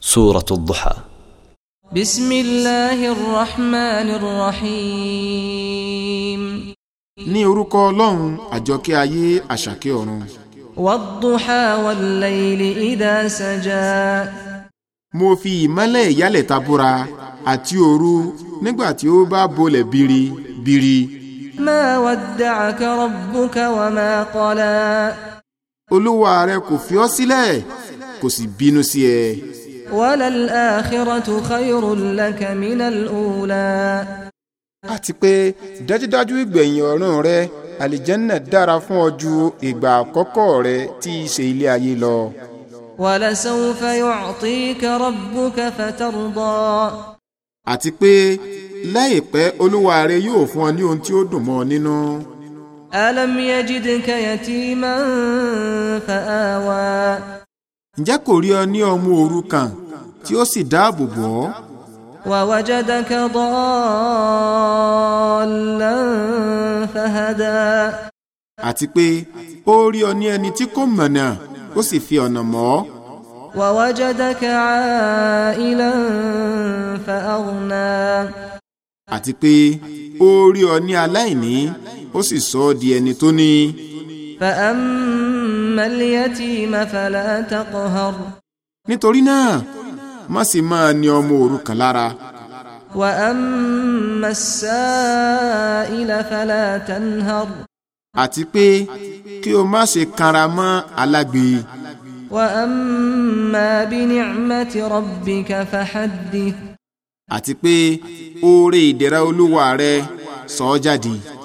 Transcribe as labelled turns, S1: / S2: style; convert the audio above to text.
S1: سورة الضحى
S2: بسم الله الرحمن الرحيم
S3: ní orúkọ ọlọ́run àjọkẹ́ ayé àṣàkẹ́ ọ̀run
S2: والضحى والليل إذا سجى
S3: mo fi ìmọ́lẹ̀ ìyálẹ̀ ta búra àti òru nígbà tí ó bá bolẹ̀ biri biri
S2: ما ودعك ربك وما قلى
S3: olúwa rẹ kò fi ọ́ sílẹ̀ kò sì bínú sí ẹ
S2: وللآخرة خير لك من الأولى
S3: àti pé dájúdájú ìgbẹ̀yìn ọ̀run rẹ àlìjẹ́nà dára fún ọ ju ìgbà àkọ́kọ́ rẹ tí í ṣe ilé ayé lọ
S2: ولسوف يعطيك ربك فترضى
S3: àti pé láìpẹ́ olúwa rẹ yóò fún ọ ní ohun tí ó dùn mọ́ ọ nínú
S2: ألم يجدك يتيما فآوى
S3: ǹjẹ́ kò rí ọ ní ọmọ òrukàn tí ó sì dáàbò bò ọ́
S2: ووجدك ضالا فهدى
S3: àti pé ó rí ọ ní ẹni tí kò mọ̀nà ó sì fi ọ̀nà mọ̀ ọ́
S2: ووجدك عائلا فأغنى
S3: àti pé ó rí ọ ní aláìní ó sì sọ ọ́ di ẹni tó ní.
S2: فأما اليتيم فلا تقهر
S3: nítorí náà má sì máa ní ọmọ òrukàn lára
S2: وأما السائل فلا تنهر
S3: àti pé kí o má ṣe kanra mọ́ alágbe
S2: وأما بنعمة ربك فحدث
S3: àti pé oore ìdẹ̀ra olúwa rẹ sọ ọ́ jáde.